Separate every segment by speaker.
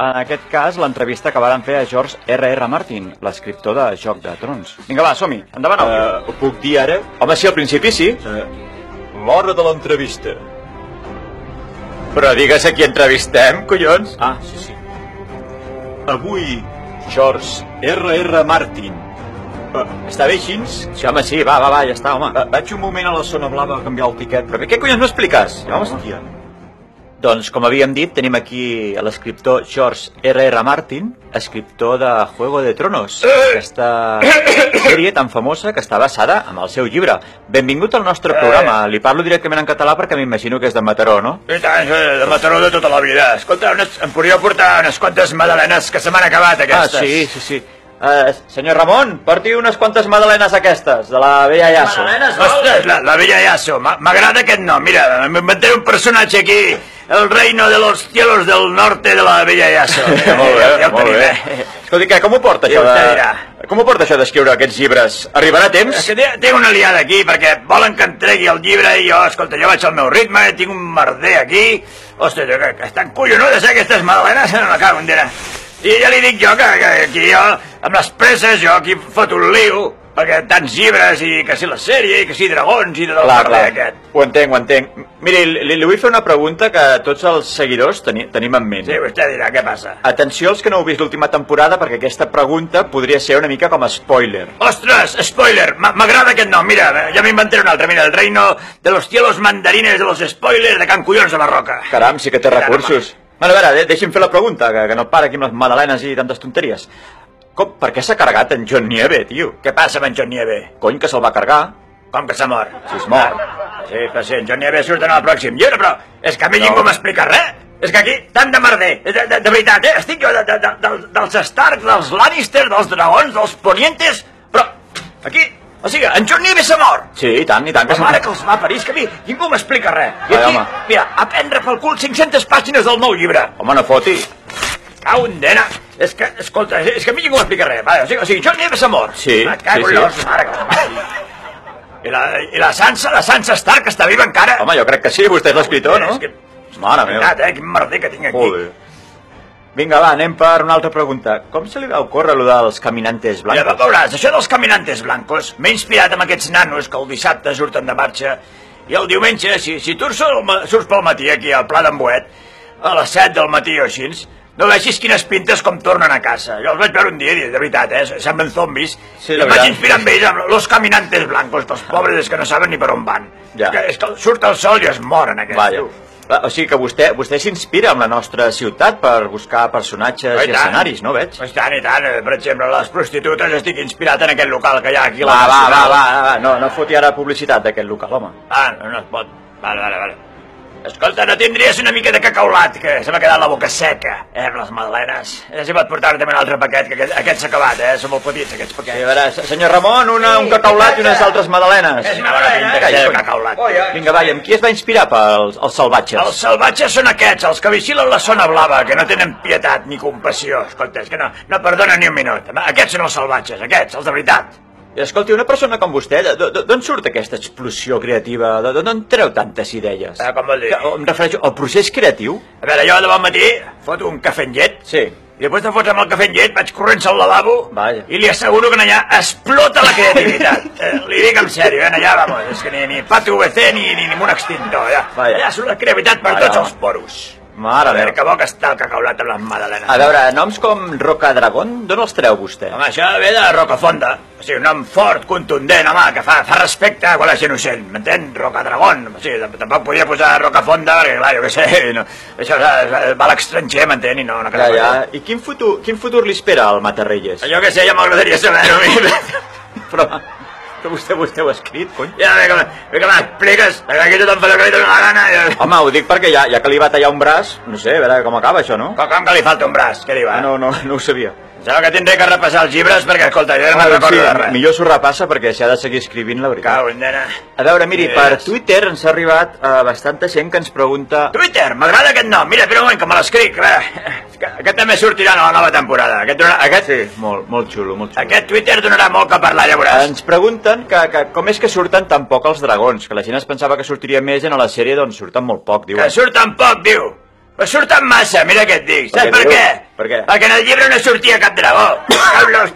Speaker 1: En aquest cas, l'entrevista que varen fer a George R.R. R. Martin, l'escriptor de Joc de Trons. Vinga, va, som-hi. Endavant, uh,
Speaker 2: Uh, ho puc dir ara?
Speaker 1: Home, sí, al principi sí.
Speaker 2: Uh, L'hora de l'entrevista.
Speaker 1: Però digues a qui entrevistem, collons.
Speaker 2: Ah, sí, sí. Avui, George R.R. Martin. Uh, està bé així?
Speaker 1: Sí, home, sí, va, va, va, ja està, home.
Speaker 2: Uh, vaig un moment a la zona blava a canviar el tiquet.
Speaker 1: Però què collons no expliques? Ja, home,
Speaker 2: Hòstia.
Speaker 1: Doncs, com havíem dit, tenim aquí l'escriptor George R.R. R. Martin, escriptor de Juego de Tronos, aquesta sèrie tan famosa que està basada en el seu llibre. Benvingut al
Speaker 2: Eh,
Speaker 1: nostre programa. Li parlo directament en català perquè m'imagino que és de Mataró, no?
Speaker 2: I tant, eh, de Mataró de tota la vida. Escolta, unes, em podria portar unes quantes madalenes que se m'han acabat,
Speaker 1: Ah, sí, sí, sí. Uh, senyor Ramon, porti unes quantes madalenes aquestes, de la vella Iasso.
Speaker 2: Ostres, la, la vella Iasso, m'a- m'agrada aquest nom. Mira, m'inventaré un personatge aquí, el reino de los cielos del norte de la vella Iasso.
Speaker 1: Eh, molt bé,
Speaker 2: ja, ja ho
Speaker 1: molt
Speaker 2: tenim,
Speaker 1: bé.
Speaker 2: eh?
Speaker 1: Escolti, què, com ho porta
Speaker 2: Ja
Speaker 1: això
Speaker 2: ho
Speaker 1: de...
Speaker 2: tenirà.
Speaker 1: Com ho porta això d'escriure aquests llibres? Arribarà a
Speaker 2: És
Speaker 1: temps?
Speaker 2: que té, té una liada aquí, perquè volen que entregui el llibre i jo, escolta, jo vaig al meu ritme, tinc un merder aquí... Ostres, que, que estan collonudes, eh, aquestes madalenes, no la cago en dira. I ja li dic jo que, que aquí jo, amb les presses, jo aquí foto un liu, perquè tants llibres i que si la sèrie i que si dragons i tot el
Speaker 1: Clar,
Speaker 2: merder
Speaker 1: clar.
Speaker 2: aquest.
Speaker 1: Ho entenc, ho entenc. Miri, li, li vull fer una pregunta que tots els seguidors teni, tenim en ment.
Speaker 2: Sí, vostè dirà, què passa?
Speaker 1: Atenció als que no heu vist l'última temporada, perquè aquesta pregunta podria ser una mica com a spoiler.
Speaker 2: Ostres, spoiler, m'a- m'agrada aquest nom, mira, ja m'inventaré un altre, mira, el reino de los cielos mandarines de los spoilers de Can Collons de la Roca.
Speaker 1: Caram, sí que té recursos. Bueno, a veure, de- deixi'm fer la pregunta, que, que no para aquí amb les madalenes i tantes tonteries. Com, per què s'ha carregat en John Nieve, tio?
Speaker 2: Què passa amb en John Nieve?
Speaker 1: Cony, que se'l va carregar.
Speaker 2: Com que s'ha mort?
Speaker 1: Si es mor.
Speaker 2: Sí, però sí, en Johnny Abbey surt en el pròxim llibre, però és que a mi
Speaker 1: No.
Speaker 2: ningú m'explica res. És que aquí, tant de merder, de, de, de veritat, eh? Estic jo de, de, de, dels- dels Stark, dels Lannister, dels dragons, dels Ponientes, però aquí, o sigui, en Johnny Abbey s'ha mort.
Speaker 1: Sí, i tant, i tant.
Speaker 2: La
Speaker 1: se'n-
Speaker 2: mare que els va a París, que a mi ningú m'explica res. I
Speaker 1: Ai,
Speaker 2: aquí,
Speaker 1: home.
Speaker 2: mira, a prendre pel cul 500 pàgines del nou llibre.
Speaker 1: Home, no foti.
Speaker 2: Cau en dena. És que, escolta, és és que a mi ningú m'explica res. Va, o sigui, o sigui Johnny Abbey s'ha mort.
Speaker 1: Sí,
Speaker 2: Me cago
Speaker 1: sí,
Speaker 2: en
Speaker 1: sí.
Speaker 2: l'os, Ah, mare que la pariu. I la, I la Sansa, la Sansa Stark, està viva encara. Eh,
Speaker 1: Home, jo crec que sí, vostè és l'escriptor, no?
Speaker 2: És que-
Speaker 1: Mare meva.
Speaker 2: Veritat, eh? Quin merder que tinc aquí.
Speaker 1: Joder. Vinga, va, anem per una altra pregunta. Com se li va ocórrer allò dels caminantes
Speaker 2: Ja
Speaker 1: blancos?
Speaker 2: veuràs, això dels caminantes blancos m'he inspirat amb aquests nanos que el dissabte surten de marxa i el diumenge, si, si tu surts, al ma- surts pel matí aquí al Pla d'en Boet, a les 7 del matí o així, no vegis quines pintes com tornen a casa. Jo els vaig veure un dia, i de veritat, eh? semblen zombis.
Speaker 1: Sí,
Speaker 2: I
Speaker 1: la
Speaker 2: em vaig
Speaker 1: veritat.
Speaker 2: inspirar amb ells, amb los caminantes blancos, dels pobres és que no saben ni per on van.
Speaker 1: Ja.
Speaker 2: És que, és que surt el sol i es moren, aquests.
Speaker 1: Vaja. Va, O sigui que vostè, vostè s'inspira en la nostra ciutat per buscar personatges
Speaker 2: Oh, i
Speaker 1: i
Speaker 2: tant.
Speaker 1: escenaris, no veig?
Speaker 2: I tant, i tant. Eh, Per exemple, les prostitutes estic inspirat en aquest local que hi ha aquí. a la
Speaker 1: Va, va, va,
Speaker 2: Nacional.
Speaker 1: va, va, no, no foti ara publicitat d'aquest local, home.
Speaker 2: Ah, no, no es pot. Vale, vale, vale. Escolta, no tindries una mica de cacaulat, que se m'ha quedat la boca seca, eh, amb les madalenes. Eh, si pot portar també un altre paquet, que aquest, aquest s'ha acabat, eh? Són molt petits, aquests
Speaker 1: Sí,
Speaker 2: paquets.
Speaker 1: Eh, a veure, se- senyor Ramon, una, un cacaulat i unes altres madalenes.
Speaker 2: És una bona pinta,
Speaker 1: Calla,
Speaker 2: aquest
Speaker 1: cony.
Speaker 2: cacaulat.
Speaker 1: Vinga, va, i amb qui es va inspirar pels eh? els
Speaker 2: Els
Speaker 1: salvatges?
Speaker 2: salvatges són aquests, els que vigilen la zona blava, que no tenen pietat ni compassió. Escolta, és que no, no perdonen ni un minut. Aquests són els salvatges, aquests, els de veritat.
Speaker 1: I Escolti, una persona com vostè, d- d- d'on surt aquesta explosió creativa? D- d- D'on treu tantes idees?
Speaker 2: Eh, com vol dir?
Speaker 1: Que, oh, em refereixo al procés creatiu?
Speaker 2: A veure, jo de bon matí foto un cafè amb llet,
Speaker 1: Sí.
Speaker 2: I després de fotre amb el cafè amb llet, vaig corrents al lavabo
Speaker 1: Vaja.
Speaker 2: i li asseguro que en allà explota la creativitat. eh, li dic en sèrio, eh, en allà, vamos, és que ni, ni pato UVC ni, ni, ni un extintor. Ja.
Speaker 1: Vaja.
Speaker 2: Allà surt la creativitat per
Speaker 1: Vaja.
Speaker 2: tots els poros.
Speaker 1: Mare
Speaker 2: A veure,
Speaker 1: meva.
Speaker 2: que bo que està el cacaulat amb les madalenes.
Speaker 1: A veure, noms com Roca Dragon, d'on els treu vostè?
Speaker 2: Home, això ve de Rocafonda. O sigui, un nom fort, contundent, home, que fa, fa respecte a la gent ocell, m'entén? Rocadragón. O sigui, tamp- tampoc podia posar Rocafonda, perquè, clar, jo què sé, no, això eh, va a l'estranger, m'entén? I no, no
Speaker 1: Ja,
Speaker 2: queda
Speaker 1: ja.
Speaker 2: cosa.
Speaker 1: I quin futur, quin futur li espera al Matarrelles?
Speaker 2: Jo què sé, ja m'agradaria saber-ho, a mi.
Speaker 1: Però, però vostè, vostè ho ha escrit, cony.
Speaker 2: Ja, bé que, me- bé que m'expliques, perquè aquí tothom fa el que li dóna la gana. Jo...
Speaker 1: Home, ho dic perquè ja, ja que li va tallar un braç, no sé, a veure com acaba això, no?
Speaker 2: Com, com que li falta un braç, què diu?
Speaker 1: Ah,
Speaker 2: Eh?
Speaker 1: no, no, no ho sabia.
Speaker 2: Sembla que tindré que repassar els llibres perquè, escolta, jo no me'n recordo de res.
Speaker 1: millor s'ho repassa perquè s'ha de seguir escrivint, la veritat.
Speaker 2: Cago en nena.
Speaker 1: A veure, miri,
Speaker 2: Yes.
Speaker 1: per Twitter ens ha arribat eh, bastanta gent que ens pregunta...
Speaker 2: Twitter, m'agrada aquest nom. Mira, espera un moment, que me l'escric. a veure. És que Aquest també sortirà a la nova temporada. Aquest, donarà, aquest,
Speaker 1: Sí, molt, molt xulo, molt xulo.
Speaker 2: aquest Twitter donarà molt que parlar, ja veuràs.
Speaker 1: Ens pregunten que, que com és que surten tan poc els dragons, que la gent es pensava que sortiria més i en la sèrie doncs surten molt poc, diuen.
Speaker 2: Que surt tan poc, diu. Però surten massa, mira què et dic.
Speaker 1: Per
Speaker 2: Saps per
Speaker 1: què
Speaker 2: què?
Speaker 1: diu? Per què?
Speaker 2: Perquè en el llibre no sortia cap dragó. Carlos.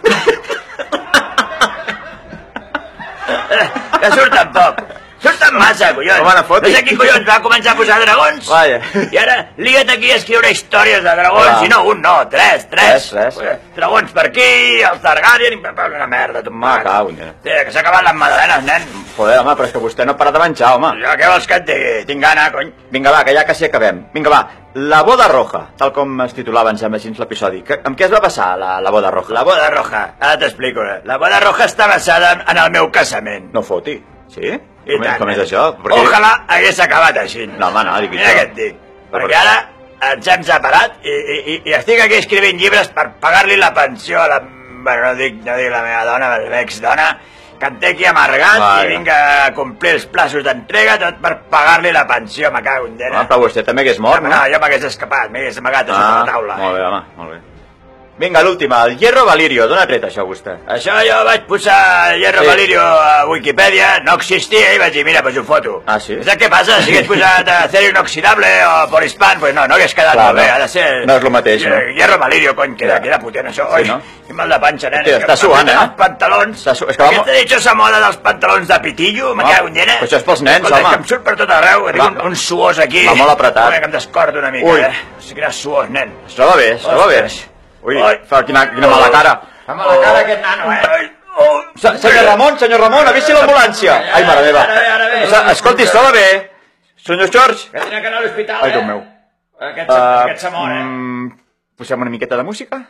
Speaker 2: que surten poc. Surten massa, collons.
Speaker 1: Home, no fotis.
Speaker 2: no sé qui collons va començar a posar dragons.
Speaker 1: Vaja.
Speaker 2: I ara lia't aquí a escriure històries de dragons.
Speaker 1: Clar.
Speaker 2: I no un, no, tres, tres.
Speaker 1: Tres, tres.
Speaker 2: Dragons per aquí, els Targaryen... i- Una merda, tu
Speaker 1: Home, cago, nen.
Speaker 2: Té, que s'ha acabat les madalenes, nen.
Speaker 1: Joder, home, però és que vostè no ha parat de menjar, home.
Speaker 2: Jo què vols que et digui? Tinc gana, cony.
Speaker 1: Vinga, va, que ja quasi acabem. Vinga, va, la boda roja, tal com es titulava, em sembla, així l'episodi. Que- Amb què es va passar, la, la boda roja?
Speaker 2: La boda roja, ara t'explico. eh? La boda roja està basada en- en el meu casament.
Speaker 1: No foti. Sí?
Speaker 2: I
Speaker 1: Com,
Speaker 2: tant,
Speaker 1: com és
Speaker 2: eh?
Speaker 1: això?
Speaker 2: Ojalà hagués acabat així.
Speaker 1: No, home, no, digui
Speaker 2: Mira
Speaker 1: això.
Speaker 2: què et dic.
Speaker 1: Però
Speaker 2: Perquè
Speaker 1: per-
Speaker 2: ara ens hem separat i, i, i, i estic aquí escrivint llibres per pagar-li la pensió a la... Bueno, no dic, no dic la meva dona, la meva ex-dona, que em té aquí amargat
Speaker 1: Vaja.
Speaker 2: i vinga a complir els plaços d'entrega tot per pagar-li la pensió, me cago en dena.
Speaker 1: Home, però vostè també hagués mort,
Speaker 2: no,
Speaker 1: no?
Speaker 2: jo m'hagués escapat, m'hagués amagat a
Speaker 1: Ah,
Speaker 2: sota la taula. eh.
Speaker 1: Molt bé, home, molt bé. Vinga, l'última, el Hierro Valirio. D'on ha tret això, vostè?
Speaker 2: Això jo vaig posar Hierro
Speaker 1: Sí.
Speaker 2: sí. Valirio a Wikipedia, no existia, i vaig dir, mira, pues ho foto.
Speaker 1: Ah, sí?
Speaker 2: Saps què passa? Si hagués posat acero inoxidable o polispan, pues no, no hagués quedat
Speaker 1: Clar,
Speaker 2: molt bé,
Speaker 1: no.
Speaker 2: ha de ser...
Speaker 1: No és lo mateix, no?
Speaker 2: Hierro Valirio, cony, queda,
Speaker 1: Ja.
Speaker 2: queda potent, això.
Speaker 1: Sí,
Speaker 2: Oi,
Speaker 1: no?
Speaker 2: I mal de panxa, nen.
Speaker 1: Hòstia,
Speaker 2: és que
Speaker 1: està suant,
Speaker 2: m'apreten
Speaker 1: eh?
Speaker 2: Els pantalons.
Speaker 1: Està su- és que va
Speaker 2: Aquesta dichosa moda dels pantalons de pitillo, me
Speaker 1: Home,
Speaker 2: cago en llena.
Speaker 1: però això és pels nens,
Speaker 2: Escolta,
Speaker 1: home.
Speaker 2: És que em surt per tot arreu, tinc un,
Speaker 1: Va.
Speaker 2: un suós aquí.
Speaker 1: Va molt apretat.
Speaker 2: Home, que em descordo una mica,
Speaker 1: Ui.
Speaker 2: eh? Hosti, Quina suós, nen.
Speaker 1: Es troba bé, es troba bé.
Speaker 2: Ostres.
Speaker 1: Ui,
Speaker 2: Ai.
Speaker 1: fa quina, quina mala cara. Fa mala cara aquest
Speaker 2: nano, eh? Oh,
Speaker 1: Se- Senyor Ramon, senyor Ramon, avisi l'ambulància. Ai, mare meva.
Speaker 2: Ara ve, ara ve.
Speaker 1: O sigui, Escolti, es troba bé. Senyor George.
Speaker 2: Que tenia que anar a l'hospital,
Speaker 1: Ai, Déu meu.
Speaker 2: Aquest,
Speaker 1: Eh,
Speaker 2: uh, aquest se mor, eh?
Speaker 1: mm, Posem una miqueta de música?